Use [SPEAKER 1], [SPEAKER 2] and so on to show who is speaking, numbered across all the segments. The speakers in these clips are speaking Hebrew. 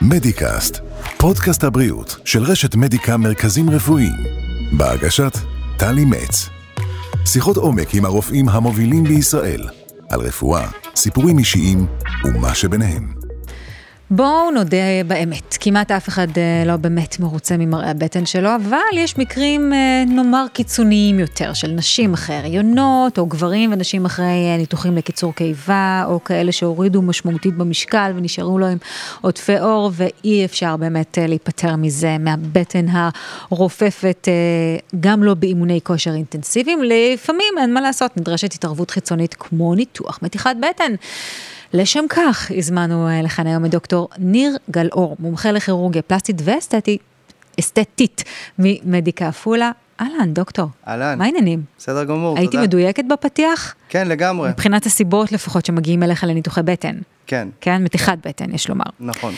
[SPEAKER 1] מדיקאסט, פודקאסט הבריאות של רשת מדיקה מרכזים רפואיים, בהגשת טלי מצ. שיחות עומק עם הרופאים המובילים בישראל, על רפואה, סיפורים אישיים ומה שביניהם.
[SPEAKER 2] בואו נודה באמת, כמעט אף אחד אה, לא באמת מרוצה ממראה הבטן שלו, אבל יש מקרים, אה, נאמר, קיצוניים יותר, של נשים אחרי הריונות, או גברים ונשים אחרי אה, ניתוחים לקיצור קיבה, או כאלה שהורידו משמעותית במשקל ונשארו לו עם עודפי עור, ואי אפשר באמת אה, להיפטר מזה, מהבטן הרופפת, אה, גם לא באימוני כושר אינטנסיביים. לפעמים, אין מה לעשות, נדרשת התערבות חיצונית כמו ניתוח מתיחת בטן. לשם כך הזמנו אה, לכאן היום את דוקטור ניר גלאור, מומחה לכירורגיה פלסטית ואסתטית אסתטית ממדיקה עפולה. אהלן, דוקטור.
[SPEAKER 3] אהלן.
[SPEAKER 2] מה העניינים?
[SPEAKER 3] בסדר גמור,
[SPEAKER 2] הייתי
[SPEAKER 3] תודה.
[SPEAKER 2] מדויקת בפתיח?
[SPEAKER 3] כן, לגמרי,
[SPEAKER 2] מבחינת הסיבות לפחות שמגיעים אליך לניתוחי בטן.
[SPEAKER 3] כן,
[SPEAKER 2] כן, מתיחת בטן, יש לומר.
[SPEAKER 3] נכון.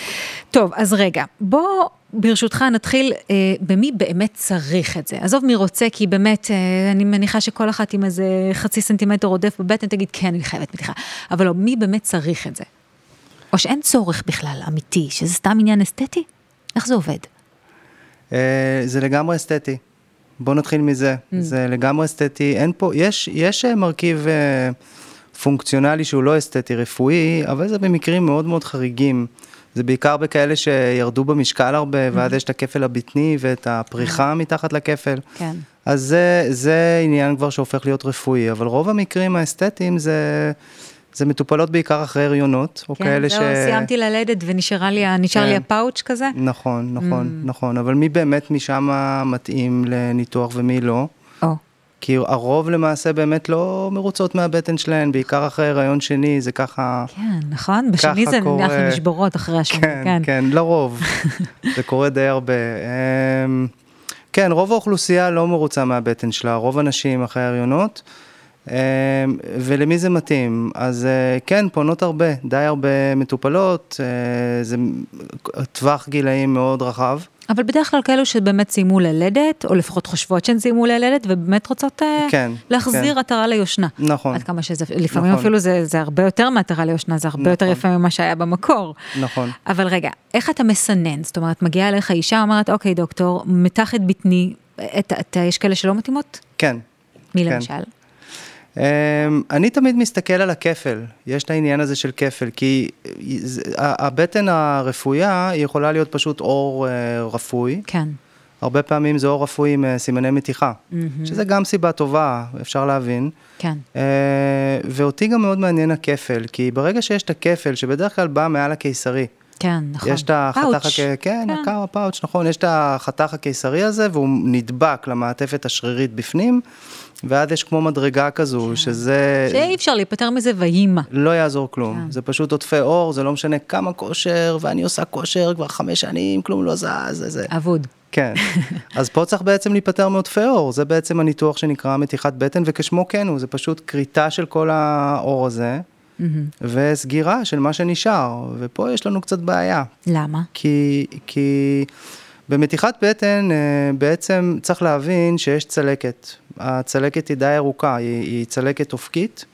[SPEAKER 2] טוב, אז רגע, בוא ברשותך נתחיל אה, במי באמת צריך את זה. עזוב מי רוצה, כי באמת, אה, אני מניחה שכל אחת עם איזה חצי סנטימטר עודף בבטן תגיד, כן, אני חייבת מתיחה. אבל לא, מי באמת צריך את זה? או שאין צורך בכלל, אמיתי, שזה סתם עניין אסתטי? איך זה עובד?
[SPEAKER 3] אה, זה לגמרי אסתטי. בואו נתחיל מזה.
[SPEAKER 2] Mm.
[SPEAKER 3] זה לגמרי אסתטי. אין פה, יש, יש אה, מרכיב אה, פונקציונלי שהוא לא אסתטי רפואי, אבל זה במקרים מאוד מאוד חריגים. זה בעיקר בכאלה שירדו במשקל הרבה,
[SPEAKER 2] Mm.
[SPEAKER 3] ואז יש את הכפל הבטני ואת הפריחה מתחת לכפל.
[SPEAKER 2] כן.
[SPEAKER 3] אז זה, זה עניין כבר שהופך להיות רפואי, אבל רוב המקרים האסתטיים זה, זה מטופלות בעיקר אחרי הריונות, או כאלה ש...
[SPEAKER 2] כן, זהו, סיימתי ללדת ונשאר לי, ה- נשאר לי
[SPEAKER 3] כן.
[SPEAKER 2] הפאוץ' כזה?
[SPEAKER 3] נכון, נכון, נכון, אבל מי באמת משם מתאים לניתוח ומי לא?
[SPEAKER 2] או,
[SPEAKER 3] כי הרוב למעשה באמת לא מרוצות מהבטן שלהן, בעיקר אחרי הריון שני, זה ככה...
[SPEAKER 2] כן, נכון? בשני
[SPEAKER 3] ככה
[SPEAKER 2] זה
[SPEAKER 3] קורה.
[SPEAKER 2] אנחנו נשברות אחרי השני,
[SPEAKER 3] כן, כן, כן, לרוב. זה קורה די הרבה. אמ, כן, רוב האוכלוסייה לא מרוצה מהבטן שלה, רוב הנשים אחרי הריונות. אמ, ולמי זה מתאים? אז אה, כן, פונות הרבה, די הרבה מטופלות, אה, זה טווח גילאים מאוד רחב.
[SPEAKER 2] אבל בדרך כלל כאלו שבאמת סיימו ללדת, או לפחות חושבות שהן סיימו ללדת, ובאמת רוצות אה,
[SPEAKER 3] כן,
[SPEAKER 2] להחזיר
[SPEAKER 3] כן.
[SPEAKER 2] עטרה ליושנה.
[SPEAKER 3] נכון.
[SPEAKER 2] עד כמה שזה, לפעמים
[SPEAKER 3] נכון.
[SPEAKER 2] אפילו זה, זה הרבה יותר מעטרה ליושנה, זה הרבה יותר
[SPEAKER 3] נכון.
[SPEAKER 2] יפה ממה שהיה במקור.
[SPEAKER 3] נכון.
[SPEAKER 2] אבל רגע, איך אתה מסנן? זאת אומרת, מגיעה אליך אישה, אומרת, אוקיי, דוקטור, מתח את בטני, את, את, יש כאלה שלא מתאימות?
[SPEAKER 3] כן.
[SPEAKER 2] מי
[SPEAKER 3] כן.
[SPEAKER 2] למשל?
[SPEAKER 3] Um, אני תמיד מסתכל על הכפל, יש את העניין הזה של כפל, כי אה, זה- ה- הבטן הרפויה היא יכולה להיות פשוט עור אה, רפוי,
[SPEAKER 2] כן.
[SPEAKER 3] הרבה פעמים זה עור רפוי עם אה, סימני מתיחה, שזה גם סיבה טובה, אפשר להבין.
[SPEAKER 2] כן.
[SPEAKER 3] אה, ואותי גם מאוד מעניין הכפל, כי ברגע שיש את הכפל, שבדרך כלל בא מעל הקיסרי,
[SPEAKER 2] כן, נכון.
[SPEAKER 3] יש את החתך,
[SPEAKER 2] פאוץ'.
[SPEAKER 3] הק... כן, הקר הפאוץ', נכון, יש את החתך הקיסרי הזה, והוא נדבק למעטפת השרירית בפנים, ואז יש כמו מדרגה כזו,
[SPEAKER 2] כן.
[SPEAKER 3] שזה...
[SPEAKER 2] שאי אפשר להיפטר מזה ויהי מה.
[SPEAKER 3] לא יעזור כלום, זה פשוט עוטפי עור, זה לא משנה כמה כושר, ואני עושה כושר כבר חמש שנים, כלום לא זז, זה זה.
[SPEAKER 2] אבוד.
[SPEAKER 3] כן. אז פה צריך בעצם להיפטר מעודפי עור, זה בעצם הניתוח שנקרא מתיחת בטן, וכשמו כן הוא, זה פשוט כריתה של כל העור הזה, וסגירה של מה שנשאר, ופה יש לנו קצת בעיה.
[SPEAKER 2] למה?
[SPEAKER 3] כי, כי במתיחת בטן אה, בעצם צריך להבין שיש צלקת. הצלקת היא די ארוכה, היא, היא צלקת אופקית,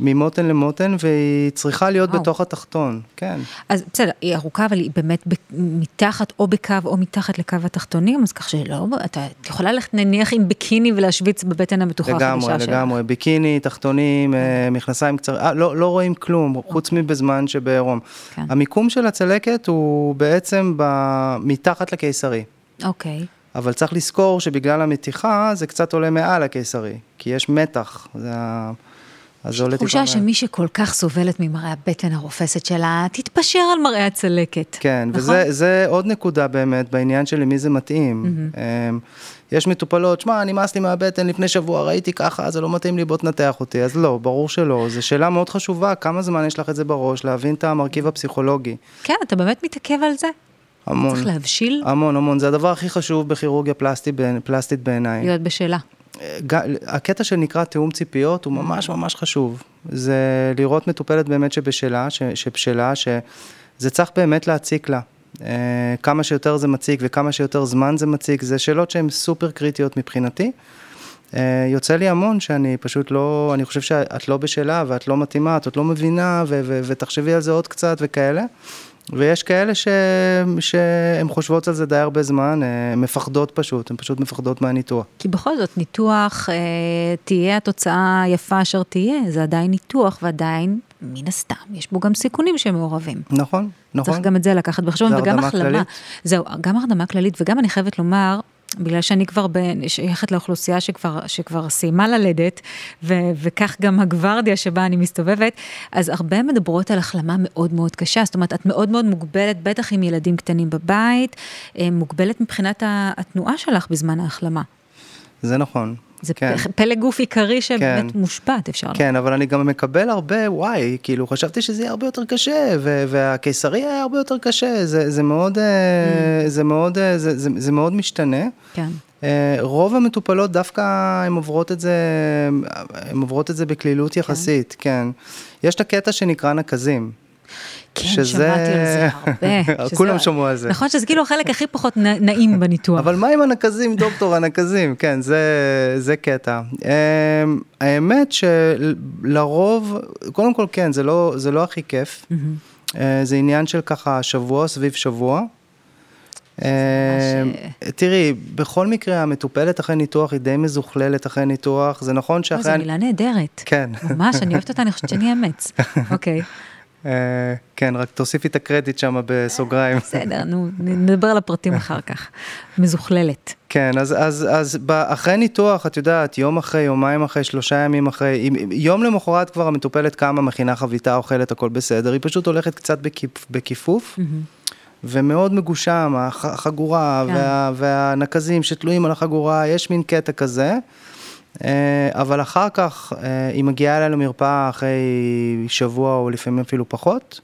[SPEAKER 3] ממותן למותן, והיא צריכה להיות
[SPEAKER 2] וואו.
[SPEAKER 3] בתוך התחתון, כן.
[SPEAKER 2] אז בסדר, היא ארוכה, אבל היא באמת ב- מתחת או בקו או מתחת לקו התחתונים, אז כך שלא, אתה את יכולה ללכת נניח עם ביקיני ולהשוויץ בבטן המתוחה
[SPEAKER 3] לגמרי,
[SPEAKER 2] החדשה שלך. כן.
[SPEAKER 3] לגמרי, ביקיני, תחתונים, אה, מכנסיים קצרים, אה, לא, לא רואים כלום, חוץ מבזמן שבעירום.
[SPEAKER 2] אוקיי. כן.
[SPEAKER 3] המיקום של הצלקת הוא בעצם ב- מתחת לקיסרי.
[SPEAKER 2] אוקיי,
[SPEAKER 3] אבל צריך לזכור שבגלל המתיחה זה קצת עולה מעל הקיסרי, כי יש מתח. זה ה... אז זה עולה
[SPEAKER 2] תחושה
[SPEAKER 3] מעל.
[SPEAKER 2] שמי שכל כך סובלת ממראה הבטן הרופסת שלה, תתפשר על מראה הצלקת.
[SPEAKER 3] כן,
[SPEAKER 2] נכון?
[SPEAKER 3] וזה זה עוד נקודה באמת בעניין של למי זה מתאים. אמ, יש מטופלות, שמע, נמאס לי מהבטן לפני שבוע, ראיתי ככה, זה לא מתאים לי, בוא תנתח אותי. אז לא, ברור שלא. זו שאלה מאוד חשובה, כמה זמן יש לך את זה בראש, להבין את המרכיב הפסיכולוגי.
[SPEAKER 2] כן, אתה באמת מתעכב על זה?
[SPEAKER 3] המון. אוקיי.
[SPEAKER 2] צריך להבשיל,
[SPEAKER 3] המון, המון. זה הדבר הכי חשוב בכירורגיה פלסטית, פלסטית בעיניי.
[SPEAKER 2] להיות בשאלה.
[SPEAKER 3] ג- הקטע שנקרא תיאום ציפיות הוא ממש ממש חשוב. זה לראות מטופלת באמת שבשלה, ש, שבשלה, שזה צריך באמת להציק לה. אה, כמה שיותר זה מציק וכמה שיותר זמן זה מציק, זה שאלות שהן סופר קריטיות מבחינתי. אה, יוצא לי המון שאני פשוט לא, אני חושב שאת לא בשלה ואת לא מתאימה, את עוד לא מבינה ו- ו- ותחשבי על זה עוד קצת וכאלה. ויש כאלה ש... שהן חושבות על זה די הרבה זמן, הן מפחדות פשוט, הן פשוט מפחדות מהניתוח.
[SPEAKER 2] כי בכל זאת, ניתוח, אה, תהיה התוצאה היפה אשר תהיה, זה עדיין ניתוח, ועדיין, מן הסתם, יש בו גם סיכונים שמעורבים.
[SPEAKER 3] נכון, נכון.
[SPEAKER 2] צריך גם את זה לקחת בחשבון,
[SPEAKER 3] זה
[SPEAKER 2] וגם
[SPEAKER 3] הרדמה
[SPEAKER 2] החלמה.
[SPEAKER 3] כללית.
[SPEAKER 2] זהו, גם הרדמה כללית, וגם אני חייבת לומר, בגלל שאני כבר ב- שייכת לאוכלוסייה שכבר, שכבר סיימה ללדת, ו- וכך גם הגוורדיה שבה אני מסתובבת, אז הרבה מדברות על החלמה מאוד מאוד קשה. זאת אומרת, את מאוד מאוד מוגבלת, בטח עם ילדים קטנים בבית, אה, מוגבלת מבחינת ה- התנועה שלך בזמן ההחלמה.
[SPEAKER 3] זה נכון.
[SPEAKER 2] זה
[SPEAKER 3] כן.
[SPEAKER 2] פ- פלא גוף עיקרי שבאמת
[SPEAKER 3] כן.
[SPEAKER 2] מושבת, אפשר לומר.
[SPEAKER 3] כן, אבל אני גם מקבל הרבה, וואי, כאילו, חשבתי שזה יהיה הרבה יותר קשה, ו- והקיסרי היה הרבה יותר קשה, זה, זה מאוד, אה, זה מאוד, אה, זה, זה, זה מאוד משתנה.
[SPEAKER 2] Mm. כן.
[SPEAKER 3] אה, רוב המטופלות דווקא הן עוברות את זה, הן עוברות את זה בקלילות יחסית, כן. יש את הקטע שנקרא נקזים.
[SPEAKER 2] כן,
[SPEAKER 3] שזה-
[SPEAKER 2] שמעתי על זה הרבה. שזה-
[SPEAKER 3] כולם שמעו על זה.
[SPEAKER 2] נכון, שזה כאילו החלק הכי פחות נ- נעים בניתוח.
[SPEAKER 3] אבל מה עם הנקזים, דוקטור הנקזים? כן, זה, זה קטע. אמ, האמת שלרוב, קודם כל כן, זה לא, זה לא הכי כיף. אה, זה עניין של ככה שבוע סביב שבוע.
[SPEAKER 2] ממש,
[SPEAKER 3] אה, תראי, בכל מקרה המטופלת אחרי ניתוח היא די מזוכללת אחרי ניתוח, זה נכון
[SPEAKER 2] לא, זו
[SPEAKER 3] שאחרי...
[SPEAKER 2] מילה נהדרת.
[SPEAKER 3] כן.
[SPEAKER 2] ממש, אני אוהבת אותה, אני חושבת שאני אאמץ. אוקיי,
[SPEAKER 3] אה, כן, רק תוסיפי את הקרדיט שם בסוגריים.
[SPEAKER 2] בסדר, נו, נדבר על הפרטים אחר כך. מזוכללת.
[SPEAKER 3] כן, אז, אז, אז ב- אחרי ניתוח, את יודעת, יום אחרי, יומיים אחרי, שלושה ימים אחרי, אם- אם- יום למחרת כבר המטופלת קמה, מכינה חביתה, אוכלת, הכל בסדר, היא פשוט הולכת קצת בכיפ, בכיפוף, ומאוד מגושם, הח- החגורה
[SPEAKER 2] כן.
[SPEAKER 3] וה, והנקזים שתלויים על החגורה, יש מין קטע כזה. אה, אבל אחר כך אה, היא מגיעה אליי למרפאה אחרי שבוע או לפעמים אפילו פחות,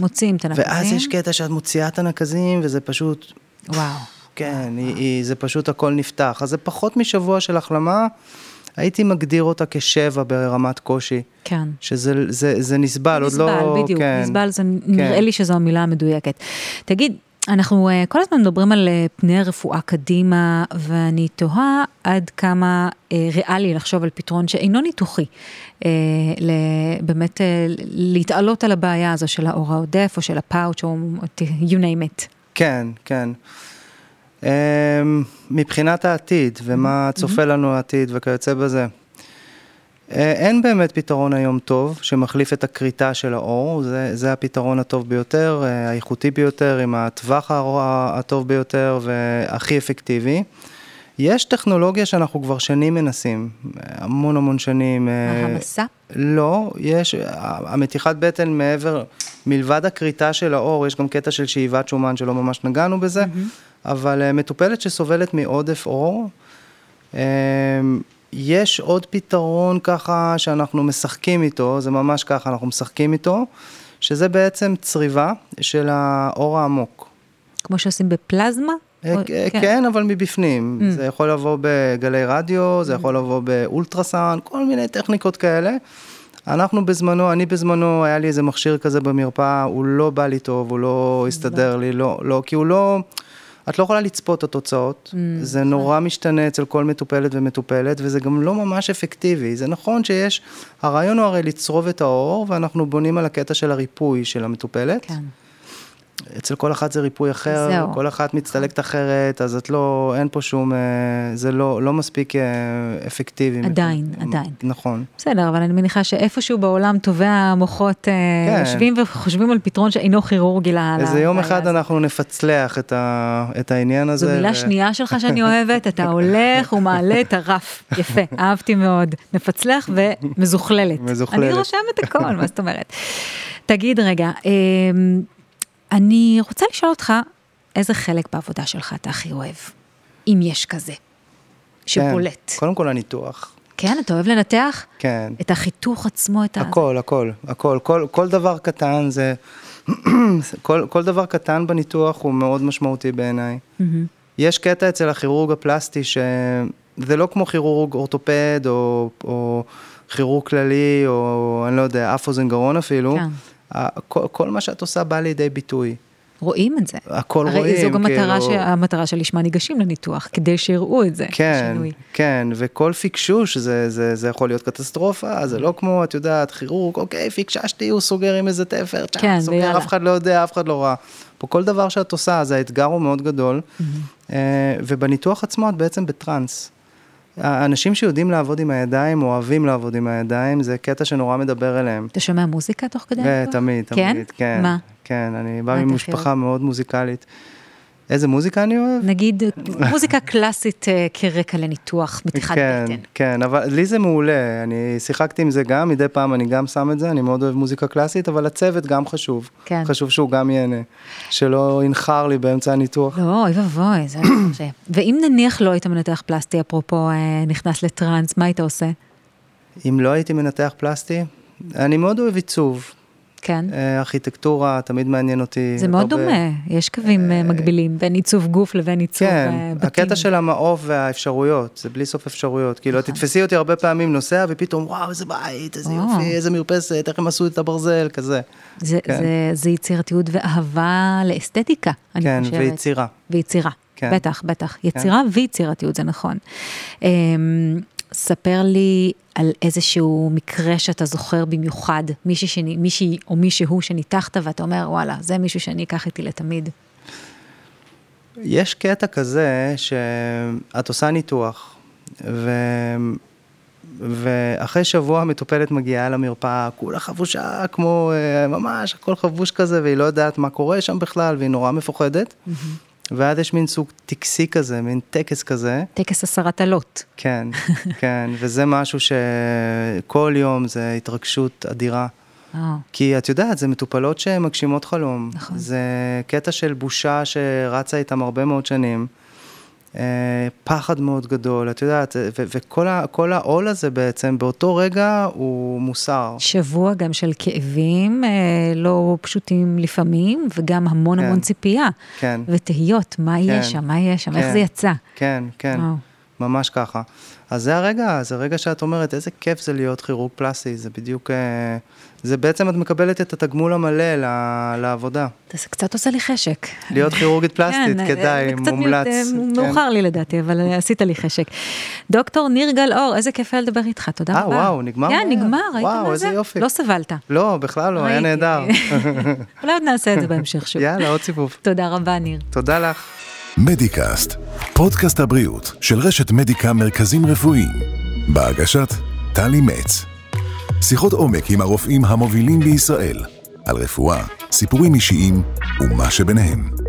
[SPEAKER 2] מוציאים את הנפחים.
[SPEAKER 3] ואז יש קטע שאת מוציאה את הנקזים וזה פשוט
[SPEAKER 2] וואו.
[SPEAKER 3] כן, היא, היא, זה פשוט הכל נפתח. אז זה פחות משבוע של החלמה, הייתי מגדיר אותה כשבע ברמת קושי.
[SPEAKER 2] כן.
[SPEAKER 3] שזה זה, זה נסבל, עוד
[SPEAKER 2] נסבל,
[SPEAKER 3] לא...
[SPEAKER 2] בדיוק,
[SPEAKER 3] כן,
[SPEAKER 2] נסבל, זה
[SPEAKER 3] כן.
[SPEAKER 2] נראה לי שזו המילה המדויקת. תגיד, אנחנו אה, כל הזמן מדברים על אה, פני הרפואה קדימה, ואני תוהה עד כמה אה, ריאלי לחשוב על פתרון שאינו ניתוחי, אה, ל- באמת אה, להתעלות על הבעיה הזו של האור העודף, או של הפאוץ', או you name it.
[SPEAKER 3] כן, כן. Um, מבחינת העתיד, ומה צופה לנו העתיד וכיוצא בזה. אה, אין באמת פתרון היום טוב שמחליף את הכריתה של האור, זה, זה הפתרון הטוב ביותר, אה, האיכותי ביותר, עם הטווח האור- הטוב ביותר והכי אפקטיבי. יש טכנולוגיה שאנחנו כבר שנים מנסים, אה, המון המון שנים. אה,
[SPEAKER 2] המסע?
[SPEAKER 3] לא, יש, ה- המתיחת בטן מעבר, מלבד הכריתה של האור, יש גם קטע של שאיבת שומן שלא ממש נגענו בזה, אבל אה, מטופלת שסובלת מעודף אור, אה, יש עוד פתרון ככה שאנחנו משחקים איתו, זה ממש ככה, אנחנו משחקים איתו, שזה בעצם צריבה של האור העמוק.
[SPEAKER 2] כמו שעושים בפלזמה?
[SPEAKER 3] אה,
[SPEAKER 2] או- Mm.
[SPEAKER 3] אה, כן, אבל מבפנים. זה יכול לבוא בגלי רדיו, זה יכול לבוא באולטרסאונד, כל מיני טכניקות כאלה. אנחנו בזמנו, אני בזמנו, היה לי איזה מכשיר כזה במרפאה, הוא לא בא לי טוב, הוא
[SPEAKER 2] Mm.
[SPEAKER 3] לא הסתדר לי, לא, לא, כי הוא לא... את לא יכולה לצפות את
[SPEAKER 2] Mm,
[SPEAKER 3] התוצאות,
[SPEAKER 2] נכון.
[SPEAKER 3] זה נורא משתנה אצל כל מטופלת ומטופלת, וזה גם לא ממש אפקטיבי. זה נכון שיש, הרעיון הוא הרי לצרוב את האור, ואנחנו בונים על הקטע של הריפוי של המטופלת.
[SPEAKER 2] כן.
[SPEAKER 3] אצל כל אחת זה ריפוי אחר,
[SPEAKER 2] זהו.
[SPEAKER 3] זהו. כל אחת מצטלקת אחרת, אז את לא, אין פה שום, אה, זה לא, לא מספיק אה, אפקטיבי.
[SPEAKER 2] עדיין,
[SPEAKER 3] מ-
[SPEAKER 2] עדיין.
[SPEAKER 3] נכון.
[SPEAKER 2] בסדר, אבל אני מניחה שאיפשהו בעולם טובי המוחות אה,
[SPEAKER 3] כן.
[SPEAKER 2] יושבים וחושבים על פתרון שאינו כירורגי ל-
[SPEAKER 3] איזה יום
[SPEAKER 2] לבעיה
[SPEAKER 3] אחד
[SPEAKER 2] הזאת.
[SPEAKER 3] אנחנו נפצלח את, ה, את העניין הזה.
[SPEAKER 2] זו מילה
[SPEAKER 3] ו-
[SPEAKER 2] שנייה שלך שאני אוהבת, אתה הולך ומעלה את הרף. יפה, אהבתי מאוד. מפצלח ומזוכללת.
[SPEAKER 3] מזוכללת.
[SPEAKER 2] אני רושמת הכל, מה זאת אומרת? תגיד רגע, אמ, אני רוצה לשאול אותך, איזה חלק בעבודה שלך אתה הכי אוהב, אם יש כזה,
[SPEAKER 3] כן.
[SPEAKER 2] שבולט?
[SPEAKER 3] קודם כל הניתוח,
[SPEAKER 2] כן, אתה אוהב לנתח?
[SPEAKER 3] כן.
[SPEAKER 2] את החיתוך עצמו, את ה...
[SPEAKER 3] הכל, הכל, הכל, כל, כל דבר קטן זה, כל, כל דבר קטן בניתוח הוא מאוד משמעותי בעיניי. יש קטע אצל הכירורג הפלסטי שזה לא כמו כירורג אורתופד או, או כירורג כללי או אני לא יודע, אף אוזן גרון אפילו.
[SPEAKER 2] כן.
[SPEAKER 3] ה- כל, כל מה שאת עושה בא לידי ביטוי.
[SPEAKER 2] רואים את זה.
[SPEAKER 3] הכל
[SPEAKER 2] הרי
[SPEAKER 3] רואים,
[SPEAKER 2] הרי זו גם המטרה,
[SPEAKER 3] כאילו-
[SPEAKER 2] ש... המטרה שלשמה ניגשים לניתוח, כדי שיראו את זה,
[SPEAKER 3] כן,
[SPEAKER 2] השינוי.
[SPEAKER 3] כן, וכל פיקשוש זה, זה, זה יכול להיות קטסטרופה,
[SPEAKER 2] Mm-hmm.
[SPEAKER 3] זה לא כמו, את יודעת, כירורג, אוקיי, פיקששתי, הוא סוגר עם איזה תפר, צ'אק,
[SPEAKER 2] כן,
[SPEAKER 3] סוגר,
[SPEAKER 2] ויאללה.
[SPEAKER 3] אף אחד לא יודע, אף אחד לא ראה. פה כל דבר שאת עושה, אז האתגר הוא מאוד גדול,
[SPEAKER 2] Mm-hmm.
[SPEAKER 3] אה, ובניתוח עצמו את בעצם בטראנס. האנשים שיודעים לעבוד עם הידיים, אוהבים לעבוד עם הידיים, זה קטע שנורא מדבר אליהם.
[SPEAKER 2] אתה שומע מוזיקה תוך כדי?
[SPEAKER 3] אה,
[SPEAKER 2] הניתוח?
[SPEAKER 3] תמיד,
[SPEAKER 2] כן?
[SPEAKER 3] תמיד, כן.
[SPEAKER 2] מה?
[SPEAKER 3] כן, אני בא
[SPEAKER 2] מה אתה
[SPEAKER 3] ממשפחה מאוד מוזיקלית. איזה מוזיקה אני אוהב?
[SPEAKER 2] נגיד מוזיקה קלאסית אה, כרקע לניתוח, מתיחת
[SPEAKER 3] כן,
[SPEAKER 2] בטן.
[SPEAKER 3] כן, אבל לי זה מעולה, אני שיחקתי עם זה גם, מדי פעם אני גם שם את זה, אני מאוד אוהב מוזיקה קלאסית, אבל הצוות גם חשוב.
[SPEAKER 2] כן.
[SPEAKER 3] חשוב שהוא גם ייהנה, שלא ינחר לי באמצע הניתוח.
[SPEAKER 2] לא, אוי ואבוי, זה לא קשה. ואם נניח לא היית מנתח פלסטי, אפרופו אה, נכנס לטראנס, מה היית עושה?
[SPEAKER 3] אם לא הייתי מנתח פלסטי, אני מאוד אוהב עיצוב,
[SPEAKER 2] כן.
[SPEAKER 3] אה, ארכיטקטורה תמיד מעניין אותי.
[SPEAKER 2] זה מאוד
[SPEAKER 3] הרבה-
[SPEAKER 2] דומה, יש קווים אה, מקבילים בין עיצוב גוף לבין עיצוב אה,
[SPEAKER 3] כן,
[SPEAKER 2] בתים.
[SPEAKER 3] הקטע של המעוף והאפשרויות, זה בלי סוף אפשרויות. כאילו,
[SPEAKER 2] נכון.
[SPEAKER 3] את תתפסי אותי הרבה פעמים נוסע, ופתאום, וואו, איזה בית, איזה
[SPEAKER 2] וואו.
[SPEAKER 3] יופי, איזה מרפסת, איך הם עשו את הברזל, כזה.
[SPEAKER 2] זה,
[SPEAKER 3] כן.
[SPEAKER 2] זה, זה יצירתיות ואהבה לאסתטיקה, אני
[SPEAKER 3] כן,
[SPEAKER 2] חושבת.
[SPEAKER 3] ויצירה.
[SPEAKER 2] ויצירה,
[SPEAKER 3] כן.
[SPEAKER 2] בטח, בטח. יצירה ויצירתיות, זה נכון. אמ, ספר לי על איזשהו מקרה שאתה זוכר במיוחד, מישהי, שני, מישהי או מישהו שניתחת ואתה אומר, וואלה, זה מישהו שאני אקח איתי לתמיד.
[SPEAKER 3] יש קטע כזה שאת עושה ניתוח, ו... ואחרי שבוע המטופלת מגיעה למרפאה, כולה חבושה, כמו אה, ממש, הכל חבוש כזה, והיא לא יודעת מה קורה שם בכלל, והיא נורא מפוחדת. ואז יש מין סוג טקסי כזה, מין טקס כזה.
[SPEAKER 2] טקס הסרת עלות.
[SPEAKER 3] כן, כן, וזה משהו שכל יום זה התרגשות אדירה.
[SPEAKER 2] אה,
[SPEAKER 3] כי את יודעת, זה מטופלות שמגשימות חלום.
[SPEAKER 2] נכון.
[SPEAKER 3] זה קטע של בושה שרצה איתם הרבה מאוד שנים. אה, פחד מאוד גדול, את יודעת, אה, ו- וכל ה- כל העול הזה בעצם, באותו רגע הוא מוסר.
[SPEAKER 2] שבוע גם של כאבים אה, לא פשוטים לפעמים, וגם המון
[SPEAKER 3] כן.
[SPEAKER 2] המון ציפייה.
[SPEAKER 3] כן.
[SPEAKER 2] ותהיות, מה יהיה שם, מה יהיה שם, איך
[SPEAKER 3] כן.
[SPEAKER 2] זה יצא.
[SPEAKER 3] כן, כן,
[SPEAKER 2] וואו.
[SPEAKER 3] ממש ככה. אז זה הרגע, זה הרגע שאת אומרת, איזה כיף זה להיות כירורג פלסטי, זה בדיוק, אה, זה בעצם את מקבלת את התגמול המלא ל- לעבודה.
[SPEAKER 2] אתה קצת עושה לי חשק. כן,
[SPEAKER 3] להיות כירורגית פלסטית, כדאי,
[SPEAKER 2] אה, קצת
[SPEAKER 3] מומלץ.
[SPEAKER 2] מיותר,
[SPEAKER 3] כן.
[SPEAKER 2] מאוחר לי לדעתי, אבל אה, עשית לי חשק. דוקטור ניר גל-אור, איזה כיף היה לדבר איתך, תודה
[SPEAKER 3] אה,
[SPEAKER 2] רבה.
[SPEAKER 3] וואו, נגמר
[SPEAKER 2] כן,
[SPEAKER 3] מהר.
[SPEAKER 2] נגמר, ראית
[SPEAKER 3] וואו,
[SPEAKER 2] מה
[SPEAKER 3] איזה
[SPEAKER 2] זה?
[SPEAKER 3] יופי.
[SPEAKER 2] לא סבלת.
[SPEAKER 3] לא, בכלל לא, היה
[SPEAKER 2] ראיתי.
[SPEAKER 3] נהדר.
[SPEAKER 2] אולי עוד נעשה את זה בהמשך שוב.
[SPEAKER 3] יאללה, עוד סיבוב.
[SPEAKER 2] תודה רבה, ניר.
[SPEAKER 3] תודה לך.
[SPEAKER 1] מדיקאסט, פודקאסט הבריאות של רשת מדיקה מרכזים רפואיים. בהגשת טלי מצ. שיחות עומק עם הרופאים המובילים בישראל על רפואה, סיפורים אישיים ומה שביניהם.